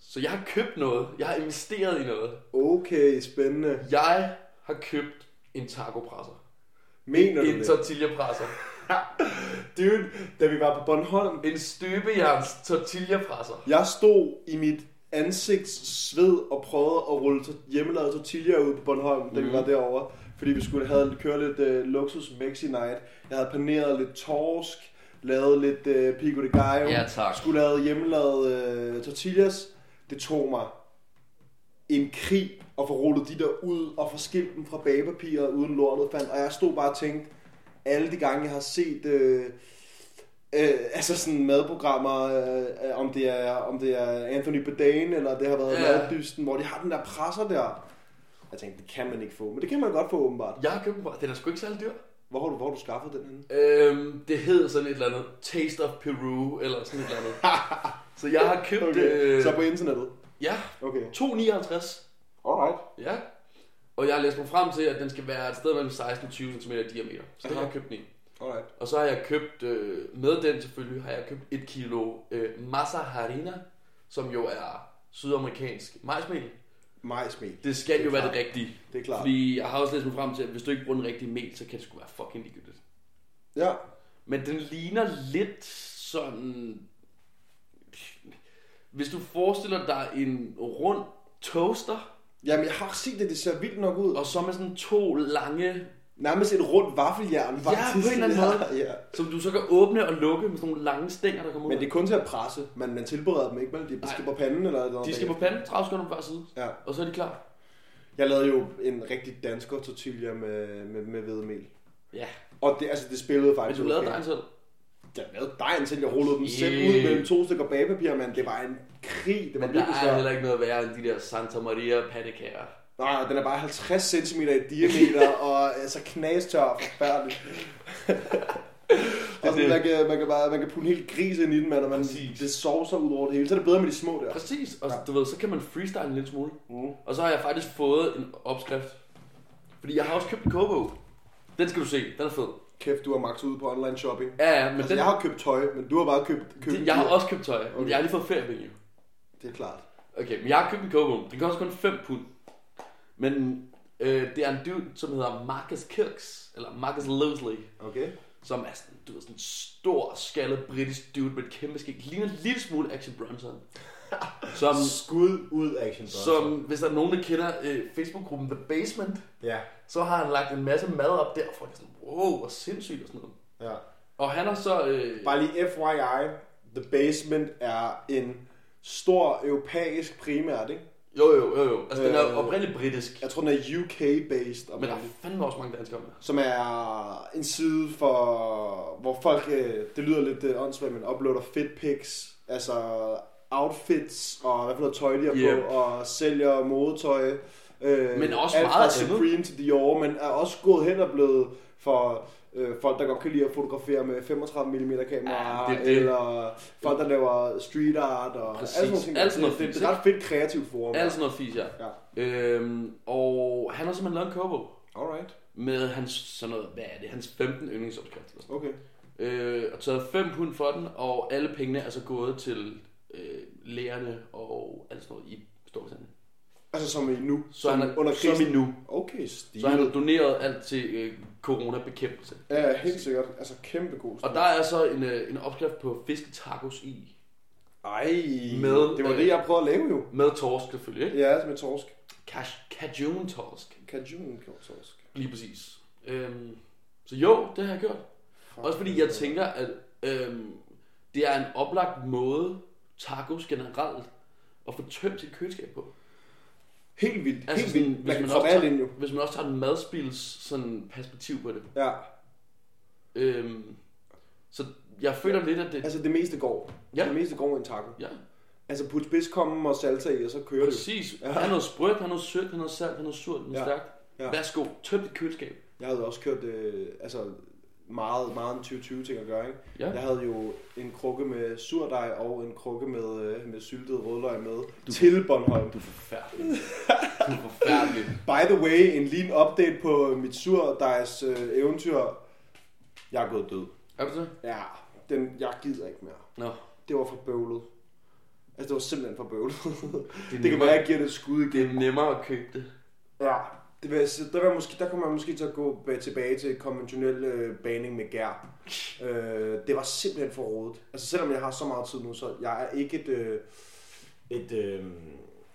Speaker 3: Så jeg har købt noget. Jeg har investeret i noget.
Speaker 2: Okay, spændende.
Speaker 3: Jeg har købt en tacopresser.
Speaker 2: Mener du
Speaker 3: En
Speaker 2: det?
Speaker 3: tortillapresser.
Speaker 2: Dude, da vi var på Bornholm,
Speaker 3: En støbejerns tortillapresser.
Speaker 2: jeg stod i mit ansigts sved og prøvede at rulle to- hjemmelavede tortilla ud på Bornholm, da vi
Speaker 3: Mhm.
Speaker 2: var derovre. Fordi vi skulle have køre lidt øh, luksus Mexi Night. Jeg havde paneret lidt torsk, lavet lidt øh, pico de gallo.
Speaker 3: Ja, tak.
Speaker 2: skulle lave hjemmelavede øh, tortillas. Det tog mig en krig at få rullet de der ud og få skilt dem fra bagepapiret uden lortet fandt. Og jeg stod bare og tænkte, alle de gange jeg har set øh, øh, altså sådan madprogrammer, øh, øh, om, det er, om det er Anthony Bourdain eller det har været
Speaker 3: Ja.
Speaker 2: yeah. Maddysten, hvor de har den der presser der. Jeg tænkte, det kan man ikke få, men det kan man godt få åbenbart.
Speaker 3: Jeg har købt den. Den er sgu ikke særlig dyr.
Speaker 2: Hvor har du, hvor har du skaffet den henne?
Speaker 3: Øhm, det hed sådan et eller andet Taste of Peru, eller sådan et eller andet. så jeg har købt...
Speaker 2: Okay.
Speaker 3: Øh,
Speaker 2: Så på internettet?
Speaker 3: ja,
Speaker 2: Okay.
Speaker 3: 2,59.
Speaker 2: Alright.
Speaker 3: Ja. Og jeg har læst mig frem til, at den skal være et sted mellem 16 og 20 cm i diameter. Så det har jeg købt den i.
Speaker 2: Alright.
Speaker 3: Og så har jeg købt, øh, med den selvfølgelig, har jeg købt et kilo øh, masa harina, som jo er sydamerikansk majsmel.
Speaker 2: Majsmel.
Speaker 3: Det skal
Speaker 2: Det er
Speaker 3: jo være
Speaker 2: klart.
Speaker 3: det rigtige.
Speaker 2: Det er klart.
Speaker 3: Fordi jeg har også læst mig frem til, at hvis du ikke bruger den rigtige mel, så kan det sgu være fucking ligegyldigt.
Speaker 2: Ja.
Speaker 3: Men den ligner lidt sådan... Hvis du forestiller dig en rund toaster,
Speaker 2: Jamen, jeg har set det, det ser vildt nok ud.
Speaker 3: og så med sådan to lange,
Speaker 2: Nærmest et rundt vaffeljern, faktisk.
Speaker 3: på en eller anden måde.
Speaker 2: Ja.
Speaker 3: som du så kan åbne og lukke med sådan nogle lange stænger, der kommer
Speaker 2: Men
Speaker 3: ud.
Speaker 2: det er kun til at presse. Man, man tilbereder dem ikke, vel? De skal på panden eller noget.
Speaker 3: De skal på panden, 30 sekunder på hver side,
Speaker 2: Ja.
Speaker 3: og så er de klar.
Speaker 2: Jeg lavede jo en rigtig dansker tortilla med, med, med hvedemel.
Speaker 3: Ja,
Speaker 2: Og det, altså, det spillede
Speaker 3: men
Speaker 2: faktisk
Speaker 3: du lavede
Speaker 2: okay.
Speaker 3: dejen selv.
Speaker 2: Jeg lavede dejen selv. Jeg rullede den
Speaker 3: Shit.
Speaker 2: selv ud mellem to stykker bagpapir, mand. Det var en krig. Det var
Speaker 3: Men der
Speaker 2: virkelig
Speaker 3: er
Speaker 2: svært.
Speaker 3: heller ikke noget værre end de der Santa Maria pandekager.
Speaker 2: Nej, den er bare 50 cm i diameter, og altså knastør forfærdelig. og sådan,
Speaker 3: det.
Speaker 2: man, kan, man, kan bare, man kan putte en hel gris ind i den, mand, og man,
Speaker 3: Præcis.
Speaker 2: det sovser ud over det hele. Så er det bedre med de små der.
Speaker 3: Præcis, og
Speaker 2: Ja.
Speaker 3: du ved, så kan man freestyle en lille smule.
Speaker 2: Mm.
Speaker 3: Og så har jeg faktisk fået en opskrift. Fordi jeg har også købt en kogebog. Den skal du se, den er fed.
Speaker 2: Kæft, du har max ud på online shopping.
Speaker 3: Ja, ja, men
Speaker 2: Altså,
Speaker 3: den,
Speaker 2: jeg har købt tøj, men du har bare købt... købt
Speaker 3: Det, jeg har
Speaker 2: dyr.
Speaker 3: også købt tøj, okay.
Speaker 2: Okay.
Speaker 3: jeg har lige fået feriepenge. jo.
Speaker 2: Det er klart.
Speaker 3: Okay, men jeg har købt en kogebog. Den koster kun 5 pund. Men øh, det er en dude, som hedder Marcus Kirks, eller Marcus Losley,
Speaker 2: Okay.
Speaker 3: som er sådan, du ved, sådan en stor, skaldet britisk dude med et kæmpe skæg. Ligner en lille smule Action Bronson. Som,
Speaker 2: Skud ud action
Speaker 3: som hvis der er nogen, der kender øh, Facebook-gruppen The Basement,
Speaker 2: Ja,
Speaker 3: så har han lagt en masse mad op der, og folk er sådan, wow, hvor sindssygt og sådan noget.
Speaker 2: ja.
Speaker 3: Og han har så... Øh,
Speaker 2: Bare lige FYI, The Basement er en stor europæisk primært, ikke?
Speaker 3: jo, jo, jo, jo. Altså, den er
Speaker 2: Øh,
Speaker 3: oprindeligt britisk,
Speaker 2: Jeg tror, den er UK-based.
Speaker 3: men der er fandme også mange danskere med.
Speaker 2: som er en side for, hvor folk, øh, det lyder lidt øh, åndssvagt, men uploader fit pics, altså outfits og hvad for noget tøj de har
Speaker 3: Yep.
Speaker 2: på, og sælger modetøj. Øh,
Speaker 3: Men også
Speaker 2: alt
Speaker 3: meget
Speaker 2: fra
Speaker 3: andet.
Speaker 2: Supreme til Dior, men er også gået hen og blevet for øh, folk, der godt kan lide at fotografere med 35mm kameraer,
Speaker 3: Ja, det er det.
Speaker 2: eller folk, der laver street art og
Speaker 3: Præcis.
Speaker 2: alt sådan
Speaker 3: Alt sådan
Speaker 2: noget. Det,
Speaker 3: noget
Speaker 2: det, det
Speaker 3: fint,
Speaker 2: er ret fedt kreativt forum.
Speaker 3: Alt sådan noget fis, ja.
Speaker 2: Ja.
Speaker 3: Øhm, og han har simpelthen lavet en kobo
Speaker 2: Alright.
Speaker 3: med hans, sådan noget, hvad er det, hans 15 yndlingsopskrift. eller sådan
Speaker 2: Okay.
Speaker 3: noget. Øh, og taget 5 pund for den, og alle pengene er så gået til øh, lærerne og alt sådan noget i Storbritannien.
Speaker 2: Altså som i nu?
Speaker 3: Så han er,
Speaker 2: under krisen?
Speaker 3: som i nu.
Speaker 2: Okay, stil.
Speaker 3: Så han har doneret alt til øh, coronabekæmpelse.
Speaker 2: Ja, helt sikkert. Altså kæmpe god
Speaker 3: Og der er så en, øh, en opskrift på fisketacos i.
Speaker 2: Ej,
Speaker 3: Med,
Speaker 2: det var
Speaker 3: øh,
Speaker 2: det, jeg prøvede at lave jo.
Speaker 3: Med torsk selvfølgelig, ikke?
Speaker 2: Ja, altså, med torsk.
Speaker 3: Cash, cajun torsk.
Speaker 2: Cajun torsk.
Speaker 3: Lige præcis. Øhm, så jo, det har jeg gjort.
Speaker 2: Ah,
Speaker 3: Også fordi jeg tænker, at øhm, det er en oplagt måde, tacos generelt, at få tømt sit køleskab på.
Speaker 2: Helt vildt.
Speaker 3: Altså
Speaker 2: helt
Speaker 3: sådan,
Speaker 2: vildt.
Speaker 3: hvis
Speaker 2: Man kan
Speaker 3: man
Speaker 2: proppe
Speaker 3: også
Speaker 2: alt ind jo.
Speaker 3: Hvis man også tager en madspils sådan perspektiv på det.
Speaker 2: Ja,
Speaker 3: Øhm, så jeg føler lidt, at det...
Speaker 2: altså det meste går.
Speaker 3: Ja.
Speaker 2: Det meste går i en taco.
Speaker 3: Ja,
Speaker 2: Altså put spidskommen og salsa i, og så kører det.
Speaker 3: præcis. Ja. Han noget sprødt, han noget sødt, han noget salt, han noget surt, han noget
Speaker 2: Ja.
Speaker 3: stærkt.
Speaker 2: Ja.
Speaker 3: Værsgo, tøm dit køleskab.
Speaker 2: Jeg havde også kørt øh, altså meget, meget en 2020 ting at gøre, ikke?
Speaker 3: Ja.
Speaker 2: Jeg havde jo en krukke med surdej og en krukke med, øh, med syltet rødløg med du. til Bornholm.
Speaker 3: Du er forfærdelig. du er forfærdelig.
Speaker 2: By the way, en lille update på mit surdejs øh, eventyr. Jeg er gået død.
Speaker 3: Er du det?
Speaker 2: Ja, den, jeg gider ikke mere.
Speaker 3: Nå.
Speaker 2: Det var for bøvlet. Altså, det var simpelthen for bøvlet. det, det kan
Speaker 3: nemmere.
Speaker 2: være, jeg giver det et skud
Speaker 3: Det
Speaker 2: igen.
Speaker 3: er nemmere at købe det.
Speaker 2: Ja, det vil, jeg sige- der, vil jeg måske, der kommer man måske til at gå ba- tilbage til konventionel øh, baning med gær. Øh, det var simpelthen for rodet. Altså, selvom jeg har så meget tid nu, så jeg er ikke et, øh, et øh,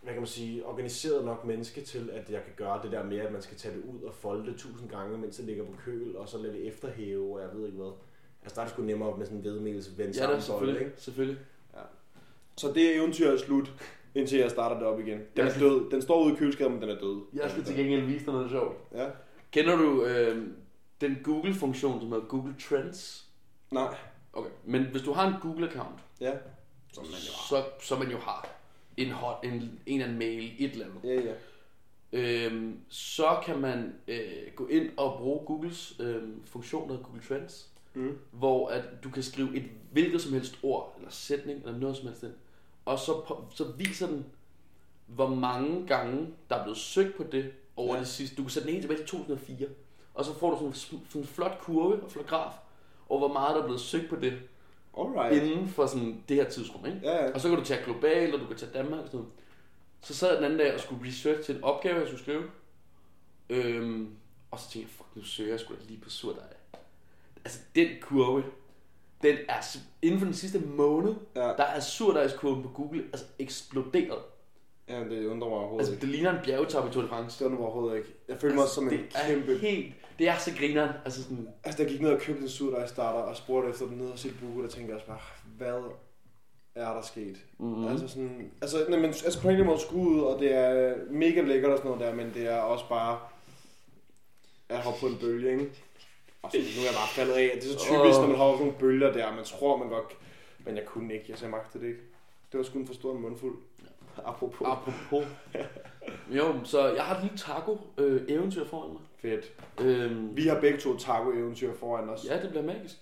Speaker 2: hvad kan man sige, organiseret nok menneske til, at jeg kan gøre det der med, at man skal tage det ud og folde det tusind gange, mens det ligger på køl, og så lade det efterhæve, og jeg ved ikke hvad. Altså, der er det sgu nemmere med sådan en vedmels ven
Speaker 3: Ja, da, selvfølgelig. selvfølgelig.
Speaker 2: så det eventyr er slut, indtil jeg starter det op igen. Den er død. Den står ude i køleskabet, men den er død.
Speaker 3: Jeg skal til gengæld vise dig noget sjovt.
Speaker 2: Ja.
Speaker 3: Kender du øh, den Google-funktion, som hedder Google Trends?
Speaker 2: Nej.
Speaker 3: Okay, men hvis du har en Google-account,
Speaker 2: Ja.
Speaker 3: så, så man jo har en, hot, en, en eller anden mail, et eller andet,
Speaker 2: Ja, ja.
Speaker 3: øhm, så kan man øh, gå ind og bruge Googles øhm, funktion, der hedder Google Trends,
Speaker 2: Mm.
Speaker 3: hvor at du kan skrive et hvilket som helst ord, eller sætning, eller noget som helst, ind, og så, på, så viser den, hvor mange gange, der er blevet søgt på det over
Speaker 2: Ja.
Speaker 3: ja. det sidste. Du kan sætte den helt tilbage til 2004, og så får du sådan en, sm- sådan en flot kurve og flot graf over, hvor meget der er blevet søgt på det
Speaker 2: Alright.
Speaker 3: inden for sådan det her tidsrum, ikke?
Speaker 2: Ja, ja.
Speaker 3: Og så kan du tage globalt, og du kan tage Danmark og sådan noget. Så sad jeg den anden dag og skulle researche til en opgave, jeg skulle skrive. Øhm, og så tænkte jeg, fuck, nu søger jeg sgu da lige på surdej. Altså, den kurve, den er sim- inden for den sidste måned,
Speaker 2: Ja.
Speaker 3: der er surdejskurven på Google altså eksploderet.
Speaker 2: Ja, det undrer mig overhovedet
Speaker 3: Altså,
Speaker 2: ikke.
Speaker 3: det ligner en bjergetop i Tour de France.
Speaker 2: Det undrer mig overhovedet ikke. Jeg følte mig
Speaker 3: Altså,
Speaker 2: som en
Speaker 3: det er
Speaker 2: kæmpe...
Speaker 3: helt, det er så grineren. Altså sådan,
Speaker 2: Altså, jeg gik ned og købte en surdej starter og spurgte efter den ned og sit buge, der tænkte jeg også bare, hvad er der sket?
Speaker 3: Mhm.
Speaker 2: Mm-hmm. Altså sådan, altså, nej, men, altså på en eller anden måde skud ud, og det er mega lækkert og sådan noget der, men det er også bare at hoppe på en bølge, ikke? Og så, nu er jeg bare faldet af. Det er så typisk,
Speaker 3: Åh.
Speaker 2: når man hopper på nogle bølger der, man tror, man godt... Men jeg kunne ikke, jeg sagde, jeg magtede det ikke. Det var sgu en for stor mundfuld. Apropos.
Speaker 3: apropos. jo, så jeg har et lille taco-eventyr foran mig.
Speaker 2: Fedt.
Speaker 3: Øhm,
Speaker 2: Vi har begge to taco-eventyr foran os.
Speaker 3: ja, det bliver magisk.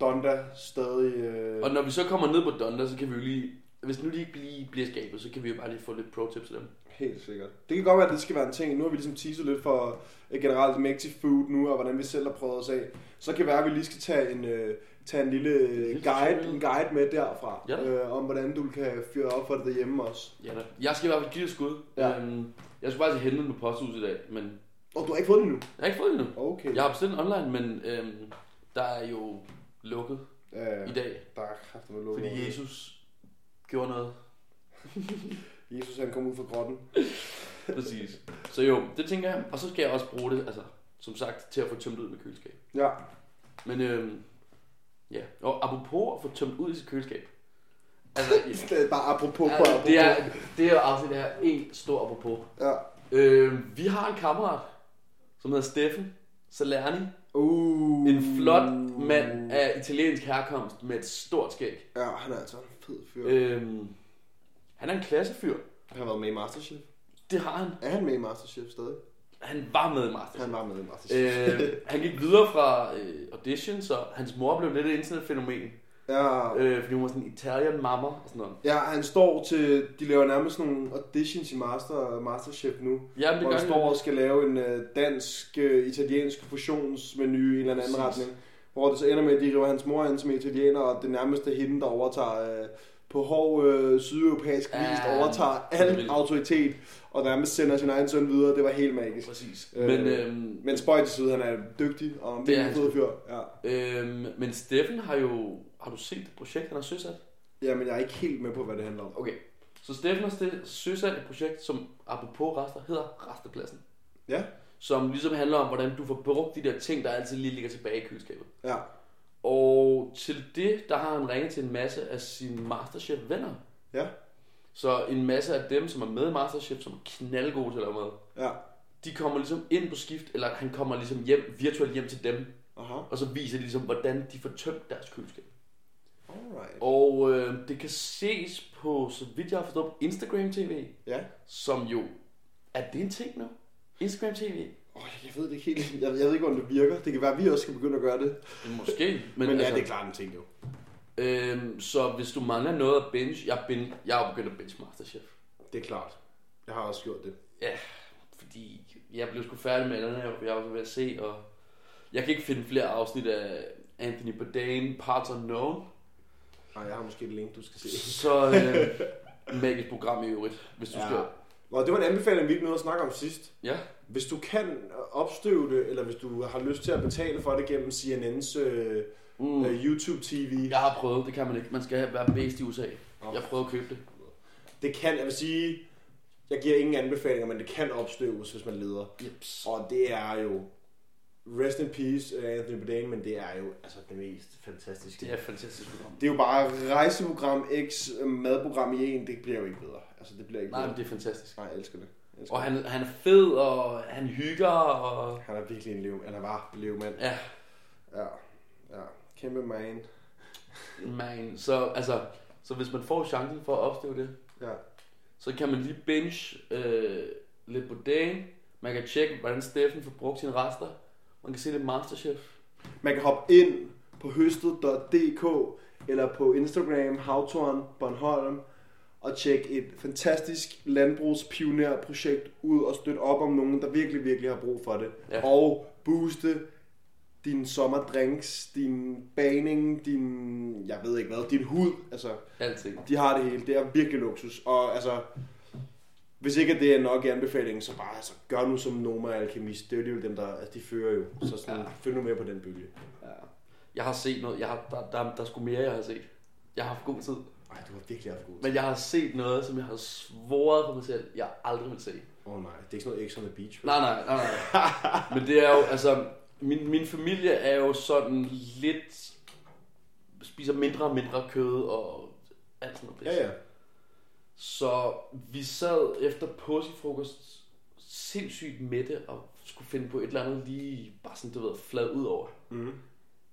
Speaker 2: Donda stadig... Øh...
Speaker 3: Og når vi så kommer ned på Donda, så kan vi jo lige... Hvis nu de ikke lige bliver skabet, så kan vi jo bare lige få lidt pro-tips til dem.
Speaker 2: Helt sikkert. Det kan godt være, at det skal være en ting. Nu har vi ligesom teaset lidt for øh, generelt Mexi Food nu, og hvordan vi selv har prøvet os af. Så kan det være, at vi lige skal tage en, øh, tage en lille øh, guide, en guide med derfra,
Speaker 3: Ja.
Speaker 2: øh, om hvordan du kan fyre op for det derhjemme også.
Speaker 3: Ja, da. Jeg skal i hvert fald give det et skud.
Speaker 2: Ja.
Speaker 3: Øhm, jeg skulle faktisk hente den på posthus i dag, men
Speaker 2: Og du har ikke fået den nu?
Speaker 3: jeg har ikke fået den endnu.
Speaker 2: Okay.
Speaker 3: Jeg har bestilt den online, men øhm, der er jo lukket
Speaker 2: Øh,
Speaker 3: i dag,
Speaker 2: der er kræfter med lukket.
Speaker 3: fordi Jesus gjorde noget.
Speaker 2: Jesus han kom ud fra grotten.
Speaker 3: Præcis. Så jo, det tænker jeg. Og så skal jeg også bruge det, altså, som sagt, til at få tømt ud med køleskab.
Speaker 2: Ja.
Speaker 3: Men øhm, ja, og apropos at få tømt ud i sit køleskab. Altså,
Speaker 2: Det er Bare apropos på
Speaker 3: ja,
Speaker 2: apropos.
Speaker 3: det er, det er afsnit her en stor apropos.
Speaker 2: Ja.
Speaker 3: Øh, vi har en kammerat, som hedder Steffen Salerni.
Speaker 2: Uh.
Speaker 3: En flot mand af italiensk herkomst med et stort skæg.
Speaker 2: Ja, han er altså en fed fyr. Øh.
Speaker 3: Øh, han er en klassefyr.
Speaker 2: Han har været med i Masterchef.
Speaker 3: Det har han.
Speaker 2: Er han med i Masterchef stadig?
Speaker 3: Han var med i Masters.
Speaker 2: Han var med i Masterchef.
Speaker 3: Øh, han gik videre fra øh, audition, så hans mor blev lidt et internetfænomen.
Speaker 2: Ja.
Speaker 3: Øh, fordi hun var sådan en Italian mamma og sådan noget.
Speaker 2: Ja, han står til, de laver nærmest nogle auditions i Master, Masterchef nu,
Speaker 3: Ja, men det
Speaker 2: hvor
Speaker 3: gør
Speaker 2: han
Speaker 3: han
Speaker 2: står
Speaker 3: jo.
Speaker 2: og skal lave en øh, dansk-italiensk fusionsmenu i en eller anden
Speaker 3: Præcis.
Speaker 2: retning, hvor det så ender med, at de river hans mor ind som italiener, og det nærmest er hende, der overtager øh, på hård øh, sydeuropæisk vis
Speaker 3: Ja,
Speaker 2: overtager
Speaker 3: det er
Speaker 2: al
Speaker 3: vildt.
Speaker 2: autoritet, og nærmest sender sin egen søn videre. Det var helt magisk.
Speaker 3: Præcis.
Speaker 2: Øh,
Speaker 3: Men, øhm,
Speaker 2: Men spøj til side, han er dygtig og en
Speaker 3: Det er han
Speaker 2: fed fyr. Ja.
Speaker 3: Øhm, men Steffen har jo... Har du set det projekt, han har søsat?
Speaker 2: ja, men jeg er ikke helt med på, hvad det handler om.
Speaker 3: Okay. Så Steffen har stil- søsat et projekt, som apropos rester, hedder Restepladsen.
Speaker 2: Ja,
Speaker 3: Som ligesom handler om, hvordan du får brugt de der ting, der altid lige ligger tilbage i køleskabet.
Speaker 2: ja.
Speaker 3: Og til det, der har han ringet til en masse af sine Masterchef-venner.
Speaker 2: Ja,
Speaker 3: Så en masse af dem, som er med i Masterchef, som er knaldgode til at lave mad,
Speaker 2: ja.
Speaker 3: de kommer ligesom ind på skift, eller han kommer ligesom hjem, virtuelt hjem til dem,
Speaker 2: Aha,
Speaker 3: og så viser de ligesom, hvordan de får tømt deres køleskab.
Speaker 2: alright.
Speaker 3: Og øh, det kan ses på, så vidt jeg har forstået, på Instagram TV,
Speaker 2: Ja.
Speaker 3: som jo, er det en ting nu? Instagram TV?
Speaker 2: Oh, jeg ved det ikke helt. Jeg, jeg ved ikke, hvordan det virker. Det kan være, at vi også skal begynde at gøre det.
Speaker 3: Måske, men,
Speaker 2: Men, altså- men ja, det er
Speaker 3: klart.
Speaker 2: klart en ting, jo.
Speaker 3: Øh, så hvis du mangler noget at binge, jeg, binge, jeg er jo begyndt at binge Masterchef.
Speaker 2: Det er klart. Jeg har også gjort det.
Speaker 3: Ja, fordi jeg blev sgu færdig med den her, jeg var ved at se, og jeg kan ikke finde flere afsnit af Anthony Bourdain, Parts Unknown,
Speaker 2: Nej, jeg har måske et link, du skal se.
Speaker 3: så øh, magisk program i øvrigt, hvis du ja. skal.
Speaker 2: Og det var en anbefaling, vi ikke nåede at snakke om sidst.
Speaker 3: Ja,
Speaker 2: Hvis du kan opstøve det, eller hvis du har lyst til at betale for det gennem CNN's øh,
Speaker 3: Mm.
Speaker 2: øh, YouTube-TV,
Speaker 3: jeg har prøvet, det kan man ikke, man skal være bedst i USA.
Speaker 2: Nå.
Speaker 3: Jeg prøvede at købe det.
Speaker 2: det kan, jeg vil sige, jeg giver ingen anbefalinger, men det kan opstøves, hvis man leder.
Speaker 3: Jeps.
Speaker 2: Og det er jo, rest in peace øh, Anthony Bourdain, men det er jo altså det mest fantastiske.
Speaker 3: Det er et fantastisk program.
Speaker 2: Det er jo bare rejseprogram x øhm, madprogram i en, det bliver jo ikke bedre. Altså det bliver ikke
Speaker 3: Nej,
Speaker 2: bedre.
Speaker 3: men det er fantastisk.
Speaker 2: Nej, jeg elsker det. Jeg elsker
Speaker 3: Og han, han er fed, og han hygger, og...
Speaker 2: det. Han er virkelig en leve, eller var levemand.
Speaker 3: Ja,
Speaker 2: Ja, ja. Kæmpe man.
Speaker 3: man. Så, altså, så hvis man får chancen for at opstøve det,
Speaker 2: Ja.
Speaker 3: så kan man lige binge øh, lidt på dagen. Man kan tjekke, hvordan Steffen får brugt sine rester. Man kan se det Masterchef.
Speaker 2: Man kan hoppe ind på høstet.dk eller på Instagram, Havtoren, Bornholm og tjekke et fantastisk landbrugspionerprojekt ud og støtte op om nogen, der virkelig, virkelig har brug for det.
Speaker 3: Ja.
Speaker 2: Og booste din sommerdrinks, din baning, din, jeg ved ikke hvad, din hud. Altså,
Speaker 3: Alting.
Speaker 2: de har det hele. Det er virkelig luksus. Og altså, hvis ikke at det er nok i anbefalingen, så bare altså, gør nu som Noma og Alkemist. Det er jo alligevel dem, der altså, de fører jo. Så sådan,
Speaker 3: Ja.
Speaker 2: ja. følg nu med på den bølge.
Speaker 3: Ja. Jeg har set noget. Jeg har, der, der, der er sgu mere, jeg har set. Jeg har haft god tid.
Speaker 2: Ej, du har virkelig haft god tid.
Speaker 3: Men jeg har set noget, som jeg har svoret for mig selv, jeg aldrig vil se.
Speaker 2: Åh oh, nej, det er ikke sådan noget X on the Beach. vel?
Speaker 3: Nej, nej, nej, nej. Men det er jo, altså, min, min familie er jo sådan lidt, spiser mindre og mindre kød og alt sådan noget. pis.
Speaker 2: Ja, ja.
Speaker 3: Så vi sad efter påskefrokost sindssygt mætte og skulle finde på et eller andet lige bare sådan, du ved, flad ud over.
Speaker 2: Mhm.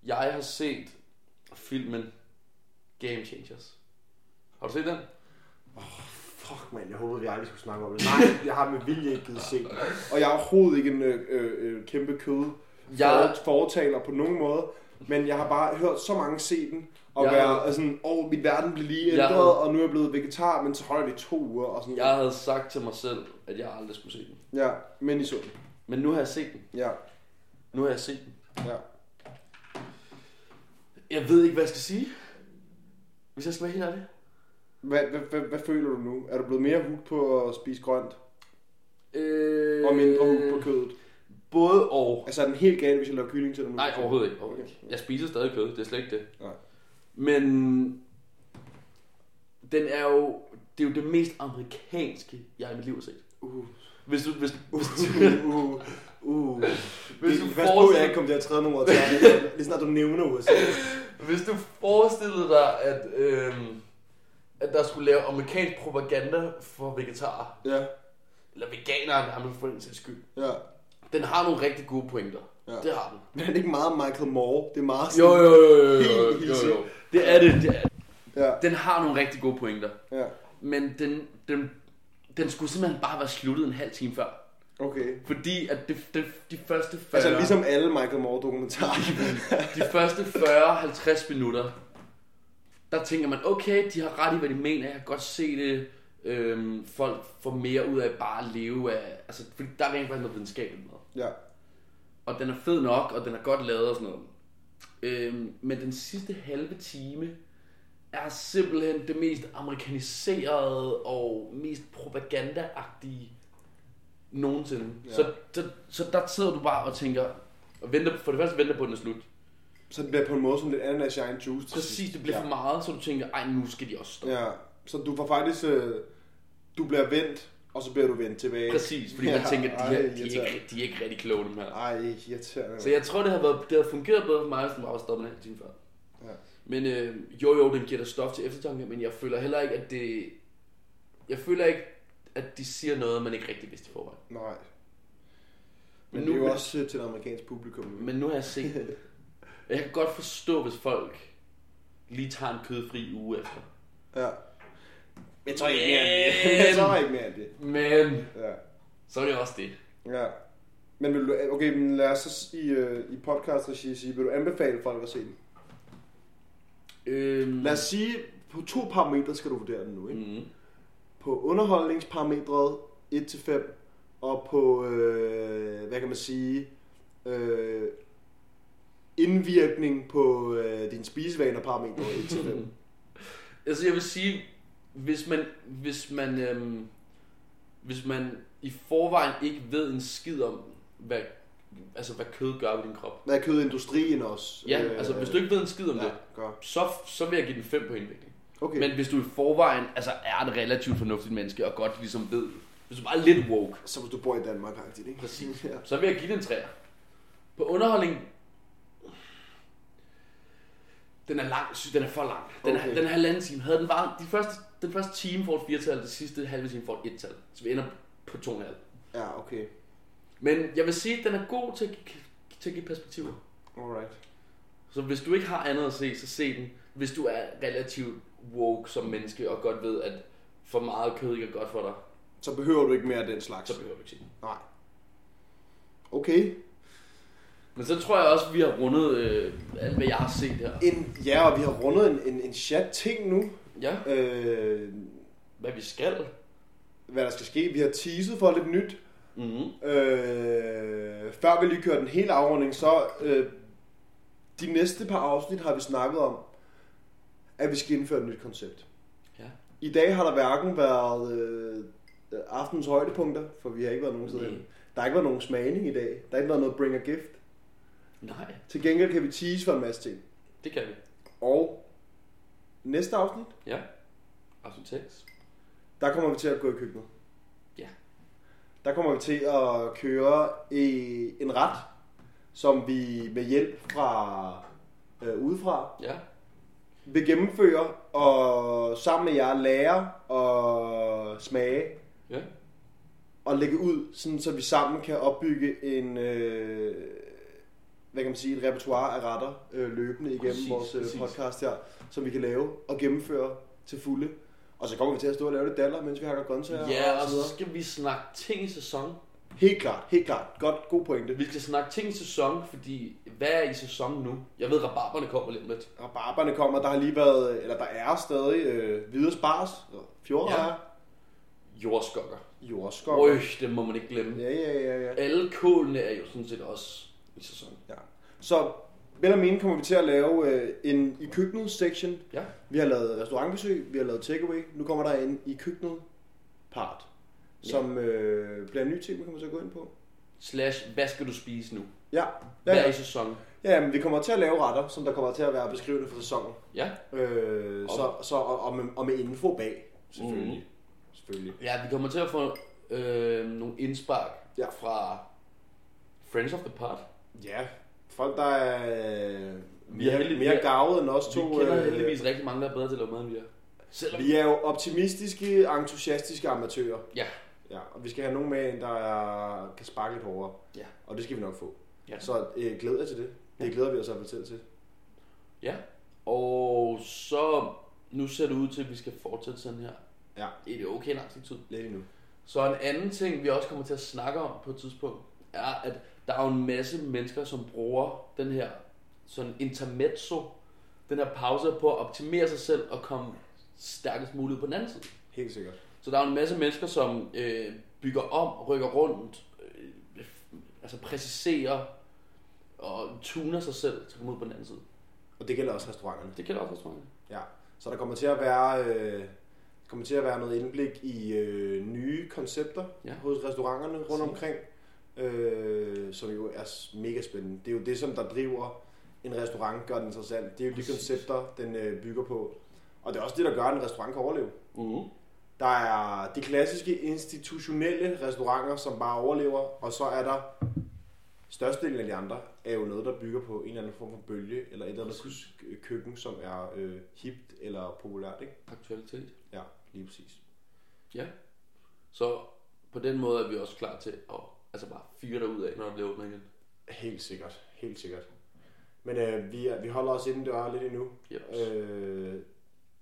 Speaker 3: Jeg har set filmen Game Changers. Har du set den?
Speaker 2: Fuck, mand, jeg håbede, vi aldrig skulle snakke om det. Nej, jeg har med vilje ikke givet se. den. Og jeg er overhovedet ikke en øh, øh, øh, kæmpe kød
Speaker 3: Jeg-
Speaker 2: jeg... fortaler på nogen måde. Men jeg har bare hørt så mange se den, og
Speaker 3: Jeg-
Speaker 2: jeg... være altså sådan, åh, min verden blev lige
Speaker 3: Jeg-
Speaker 2: ændret, og nu er jeg blevet vegetar, men så holder det i to uger og sådan
Speaker 3: Jeg havde sagt til mig selv, at jeg aldrig skulle se den.
Speaker 2: Ja, men i sund.
Speaker 3: Men nu har jeg set den.
Speaker 2: Ja,
Speaker 3: Nu har jeg set den.
Speaker 2: ja.
Speaker 3: Jeg ved ikke, hvad jeg skal sige. Hvis jeg skal være helt ærlig.
Speaker 2: Hvad, hvad, hvad, hvad føler du nu? Er du blevet mere hooked på at spise grønt,
Speaker 3: Øh,
Speaker 2: og mindre hooked på kødet?
Speaker 3: Både og.
Speaker 2: Altså er den helt gal, hvis jeg laver kylling til dig nu?
Speaker 3: Nej, overhovedet ikke. Overhovedet ikke. Jeg spiser stadig kød, det er slet ikke det.
Speaker 2: Nej.
Speaker 3: Men den er jo, det er jo det mest amerikanske, jeg i mit liv har set.
Speaker 2: Uh.
Speaker 3: Hvis du, hvis, hvis du,
Speaker 2: Uh, uh.
Speaker 3: Hvis
Speaker 2: Hvis
Speaker 3: du
Speaker 2: du Pas på,
Speaker 3: forestiller-
Speaker 2: jeg ikke kom til at træde nogle ord til dig, lige snart du nævner USA.
Speaker 3: hvis du forestillede dig, at, øhm, at der skulle lave amerikansk propaganda for vegetarer,
Speaker 2: Ja,
Speaker 3: eller veganere, nærmest for den sags skyld,
Speaker 2: ja.
Speaker 3: den har nogle rigtig gode pointer.
Speaker 2: Ja.
Speaker 3: Det har den.
Speaker 2: Men er det ikke meget Michael Moore? Det er meget
Speaker 3: Jo,
Speaker 2: sådan-
Speaker 3: jo, jo, jo, jo,
Speaker 2: Helt
Speaker 3: jo,
Speaker 2: hissig.
Speaker 3: jo. Det er det, det er det.
Speaker 2: Ja,
Speaker 3: Den har nogle rigtig gode pointer.
Speaker 2: ja.
Speaker 3: Men den, den, den skulle simpelthen bare være sluttet en halv time før.
Speaker 2: Okay.
Speaker 3: Fordi at det, det, de første 40,
Speaker 2: Altså ligesom alle Michael Moore dokumentarer.
Speaker 3: de første 40-50 minutter, der tænker man, okay, de har ret i, hvad de mener, jeg kan godt se det. Øhm, folk får mere ud af bare at leve af, altså, fordi der er rent faktisk noget videnskabeligt med.
Speaker 2: ja.
Speaker 3: Og den er fed nok, og den er godt lavet og sådan noget. Øhm, men den sidste halve time er simpelthen det mest amerikaniserede og mest propagandaagtige nogensinde. Ja.
Speaker 2: Ja.
Speaker 3: Så, så, så der sidder du bare og tænker, og venter, for det første venter på, at den er slut.
Speaker 2: Så det bliver på en måde sådan lidt ananas shine juice. til
Speaker 3: Præcis,
Speaker 2: sidst.
Speaker 3: det bliver
Speaker 2: ja.
Speaker 3: for meget, så du tænker, ej, nu skal de også stoppe.
Speaker 2: Ja, så du får faktisk... Øh, du bliver vendt, og så bliver du vendt tilbage.
Speaker 3: Præcis, fordi man
Speaker 2: Ja,
Speaker 3: tænker, de,
Speaker 2: ej,
Speaker 3: her, de, er
Speaker 2: irriterende.
Speaker 3: ikke, de er ikke rigtig kloge, dem her.
Speaker 2: Ej, irriterende.
Speaker 3: Så jeg tror, det har, været, det har fungeret bedre for mig, hvis den var stoppet en halv time før.
Speaker 2: Ja.
Speaker 3: Men øh, jo, jo, den giver dig stof til eftertanke, men jeg føler heller ikke, at det... Jeg føler ikke, at de siger noget, man ikke rigtig vidste i forvejen.
Speaker 2: Nej. Men,
Speaker 3: Men
Speaker 2: men det er
Speaker 3: nu-
Speaker 2: jo også øh, til det amerikanske publikum.
Speaker 3: Men nu har jeg set den. Og Jeg kan godt forstå, hvis folk lige tager en kødfri uge efter.
Speaker 2: Ja. Jeg tror ikke mere end det. Jeg tror ikke mere end det.
Speaker 3: Men
Speaker 2: Ja.
Speaker 3: så er det også det.
Speaker 2: ja. Men vil du, okay, men lad os så s- i, øh, i podcast regi sige, vil du anbefale folk at se den?
Speaker 3: Øhm,
Speaker 2: Lad os sige, på to parametre skal du vurdere den nu, ikke?
Speaker 3: Mm,
Speaker 2: På underholdningsparametret 1-5, og på, øh, hvad kan man sige, øh, indvirkning på øh, dine spisevaner parametre 1-5.
Speaker 3: Altså jeg vil sige, hvis man, hvis man, øhm, hvis man i forvejen ikke ved en skid om, hvad, altså hvad kød gør ved din krop.
Speaker 2: Hvad er kødindustrien også?
Speaker 3: Ja, øh, altså hvis du ikke ved en skid om ja.
Speaker 2: ja,
Speaker 3: det,
Speaker 2: gør.
Speaker 3: så, så vil jeg give den 5 på indvikling.
Speaker 2: Okay.
Speaker 3: Okay. Men hvis du i forvejen altså, er et relativt fornuftigt menneske, og godt ligesom ved, hvis du bare er lidt woke,
Speaker 2: Så hvis du bor i Danmark, agtigt, ikke?
Speaker 3: Præcis.
Speaker 2: Ja.
Speaker 3: så vil jeg give den 3. På underholdning, den er lang, sy- den er for lang. Den, okay.
Speaker 2: Okay.
Speaker 3: er, den er halvanden time. Havde den varet, de første, den første time får et firetal, det sidste halve time får et ettal. Så vi ender på to og en halv.
Speaker 2: ja, okay.
Speaker 3: Men jeg vil sige, at den er god til at, gi- til at give perspektiver.
Speaker 2: Alright.
Speaker 3: Så hvis du ikke har andet at se, så se den. Hvis du er relativt woke som menneske, og godt ved, at for meget kød ikke er godt for dig,
Speaker 2: Så behøver du ikke mere af den slags?
Speaker 3: så behøver du ikke se den.
Speaker 2: Nej. Okay.
Speaker 3: Men så tror jeg også, at vi har rundet øh, alt, hvad jeg har set her.
Speaker 2: En, ja, og vi har rundet en, en, en chat ting nu.
Speaker 3: Ja,
Speaker 2: Øh,
Speaker 3: hvad vi skal.
Speaker 2: hvad der skal ske. Vi har teaset for lidt nyt.
Speaker 3: Mm-hmm.
Speaker 2: Øh, før vi lige kører den hele afrunding, så øh, de næste par afsnit har vi snakket om, at vi skal indføre et nyt koncept.
Speaker 3: Ja.
Speaker 2: I dag har der hverken været øh, aftens højdepunkter, for vi har ikke været nogen steder.
Speaker 3: Nej.
Speaker 2: hen. Der har ikke været nogen smagning i dag. Der har ikke været noget bring a gift.
Speaker 3: Nej,
Speaker 2: Til gengæld kan vi tease for en masse ting.
Speaker 3: det kan vi.
Speaker 2: Og næste afsnit,
Speaker 3: Ja. Absolut tekst.
Speaker 2: der kommer vi til at gå i køkkenet.
Speaker 3: Ja.
Speaker 2: Der kommer vi til at køre i en ret, som vi med hjælp fra øh, udefra
Speaker 3: Ja.
Speaker 2: vil gennemføre og sammen med jer lære og smage
Speaker 3: Ja.
Speaker 2: og lægge ud, sådan, så vi sammen kan opbygge en, øh, hvad kan man sige, et repertoire af retter øh, løbende igennem præcis,
Speaker 3: Præcis,
Speaker 2: vores
Speaker 3: præcis.
Speaker 2: præcis. podcast her, som vi kan lave og gennemføre til fulde. Og så kommer vi til at stå og lave lidt daller, mens vi hakker grøntsager
Speaker 3: Ja, og
Speaker 2: så videre.
Speaker 3: så skal vi snakke ting i sæson.
Speaker 2: Helt klart, helt klart. Godt, god pointe.
Speaker 3: Vi skal snakke ting i sæson, fordi hvad er i sæson nu? Jeg ved, at rabarberne kommer lidt om lidt.
Speaker 2: Rabarberne kommer, der har lige været, eller der er stadig øh, hvide spars, fjordrejer,
Speaker 3: Jordskokker.
Speaker 2: ja. jordskov.
Speaker 3: Øj, det må man ikke glemme.
Speaker 2: Ja, ja, ja, ja.
Speaker 3: Alle kålene er jo sådan set også i sæson.
Speaker 2: Ja. Så vel og mene kommer vi til at lave øh, en i køkkenet section.
Speaker 3: Ja.
Speaker 2: Vi har lavet restaurantbesøg, vi har lavet takeaway. Nu kommer der en i køkkenet part, som øh, bliver en ny ting, vi kommer til at gå ind på.
Speaker 3: Slash, hvad skal du spise nu?
Speaker 2: Ja, ja,
Speaker 3: Hvad er
Speaker 2: ja.
Speaker 3: i sæson?
Speaker 2: ja men vi kommer til at lave retter, som der kommer til at være beskrivende for sæsonen.
Speaker 3: Ja.
Speaker 2: Øh, så, så, og, og, med, og med info bag, selvfølgelig. Mm. Selvfølgelig.
Speaker 3: Ja, vi kommer til at få øh, nogle indspark
Speaker 2: Ja.
Speaker 3: fra Friends of the Pod.
Speaker 2: Ja, folk der er øh,
Speaker 3: Vi er
Speaker 2: mere,
Speaker 3: heldig-
Speaker 2: mere
Speaker 3: vi er-
Speaker 2: gavet end os
Speaker 3: Vi
Speaker 2: to.
Speaker 3: kender
Speaker 2: øh,
Speaker 3: heldigvis rigtig mange, der er bedre til at lave mad end vi er. Selvom...
Speaker 2: Vi er jo optimistiske, entusiastiske amatører.
Speaker 3: Ja.
Speaker 2: Ja, og vi skal have nogen med ind, der er, kan sparke lidt hårdere.
Speaker 3: Ja.
Speaker 2: Og det skal vi nok få.
Speaker 3: Ja.
Speaker 2: Så øh, glæder jeg til det. Det glæder vi os i hvert fald til.
Speaker 3: ja. Og så... Nu ser det ud til, at vi skal fortsætte sådan her.
Speaker 2: Ja.
Speaker 3: I det okay lang tid.
Speaker 2: Lidt endnu.
Speaker 3: Så en anden ting, vi også kommer til at snakke om på et tidspunkt, er, at der er jo en masse mennesker, som bruger den her sådan intermezzo, den her pause på at optimere sig selv og komme stærkest muligt på den anden side.
Speaker 2: Helt sikkert.
Speaker 3: Så der er jo en masse mennesker, som øh, bygger om, rykker rundt, øh, altså præciserer og tuner sig selv til at komme ud på den anden side.
Speaker 2: Og det gælder også restauranterne.
Speaker 3: Det kan også være svært.
Speaker 2: Ja. Så der kommer til at være, øh, kommer til at være noget indblik i øh, nye koncepter ja.
Speaker 3: Ja.
Speaker 2: hos restauranterne rundt
Speaker 3: Sikkert.
Speaker 2: omkring, øh, som jo er s- mega spændende. Det er jo det, som der driver en restaurant, gør den interessant. Det er jo de
Speaker 3: Præcis.
Speaker 2: koncepter, den øh, bygger på. Og det er også det, der gør, at en restaurant kan overleve.
Speaker 3: Mm.
Speaker 2: Der er de klassiske institutionelle restauranter, som bare overlever, og så er der størstedelen af de andre, er jo noget, der bygger på en eller anden form for bølge, eller et eller andet
Speaker 3: Præcis.
Speaker 2: kø- køkken, som er øh, hipt eller populært, ikke?
Speaker 3: Aktualitet.
Speaker 2: Ja, lige præcis.
Speaker 3: Ja. Så på den måde er vi også klar til at altså bare fyre derud af, når det bliver åbnet igen.
Speaker 2: Helt sikkert, helt sikkert. Men øh, vi, er, vi holder os indendør lidt endnu.
Speaker 3: Yes.
Speaker 2: Øh,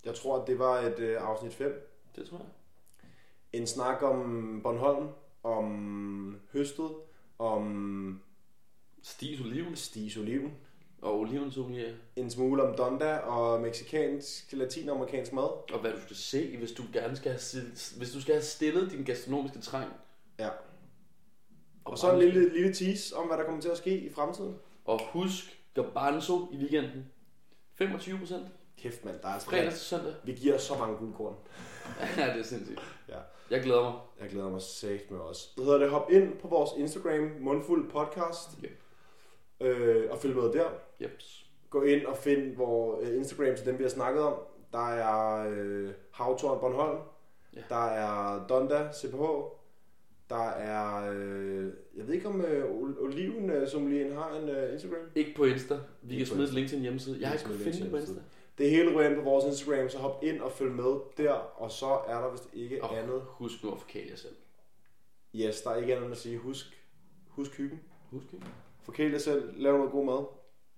Speaker 2: jeg tror, at det var et øh, afsnit 5.
Speaker 3: Det tror jeg.
Speaker 2: En snak om Bornholm, om høstet, om
Speaker 3: Stis oliven
Speaker 2: Stis Oliven,
Speaker 3: og olivensommelier.
Speaker 2: en smule om Donda og meksikansk, latinamerikansk mad.
Speaker 3: Og hvad du skal se, hvis du gerne skal have, sid- hvis du skal have stillet din gastronomiske trang.
Speaker 2: Ja. Og så en lille, lille tease om, hvad der kommer til at ske i fremtiden.
Speaker 3: Og husk garbanzo i weekenden. 25 procent.
Speaker 2: Kæft mand, der er
Speaker 3: Fredag
Speaker 2: altså...
Speaker 3: til søndag.
Speaker 2: Vi giver så mange guldkorn.
Speaker 3: ja, det er sindssygt.
Speaker 2: Ja.
Speaker 3: Jeg glæder mig.
Speaker 2: Jeg glæder mig sagt med os. Det hedder det, hop ind på vores Instagram, mundfuld podcast,
Speaker 3: Yep.
Speaker 2: øh, og følg med der.
Speaker 3: Jeps.
Speaker 2: Gå ind og find vores øh, Instagram til dem, vi har snakket om. Der er øh, Havtorn Bornholm, ja.
Speaker 3: Ja.
Speaker 2: der er Donda CPH, der er, øh, jeg ved ikke om øh, Ol- Oliven, øh, som lige har en øh, Instagram.
Speaker 3: Ikke på Insta. Vi
Speaker 2: Ikke
Speaker 3: kan
Speaker 2: på
Speaker 3: smide et
Speaker 2: Insta.
Speaker 3: link til en hjemmeside. Jeg har ikke
Speaker 2: Vi kan smide et
Speaker 3: kunnet finde det på
Speaker 2: link til
Speaker 3: Insta.
Speaker 2: Det hele ryger ind på vores Instagram, så hop ind og følg med der, og så er der vist ikke oh.
Speaker 3: Og
Speaker 2: andet.
Speaker 3: husk nu at forkæle jer selv.
Speaker 2: Yes, der er ikke andet end at sige, husk, husk hyggen.
Speaker 3: Husk det.
Speaker 2: Forkæl jer selv, lav noget god mad.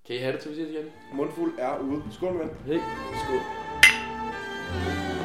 Speaker 3: Kan I have det til, vi ses igen? 哎
Speaker 2: Mundfuld er ude. Skål med.
Speaker 3: Hej.
Speaker 2: Skål.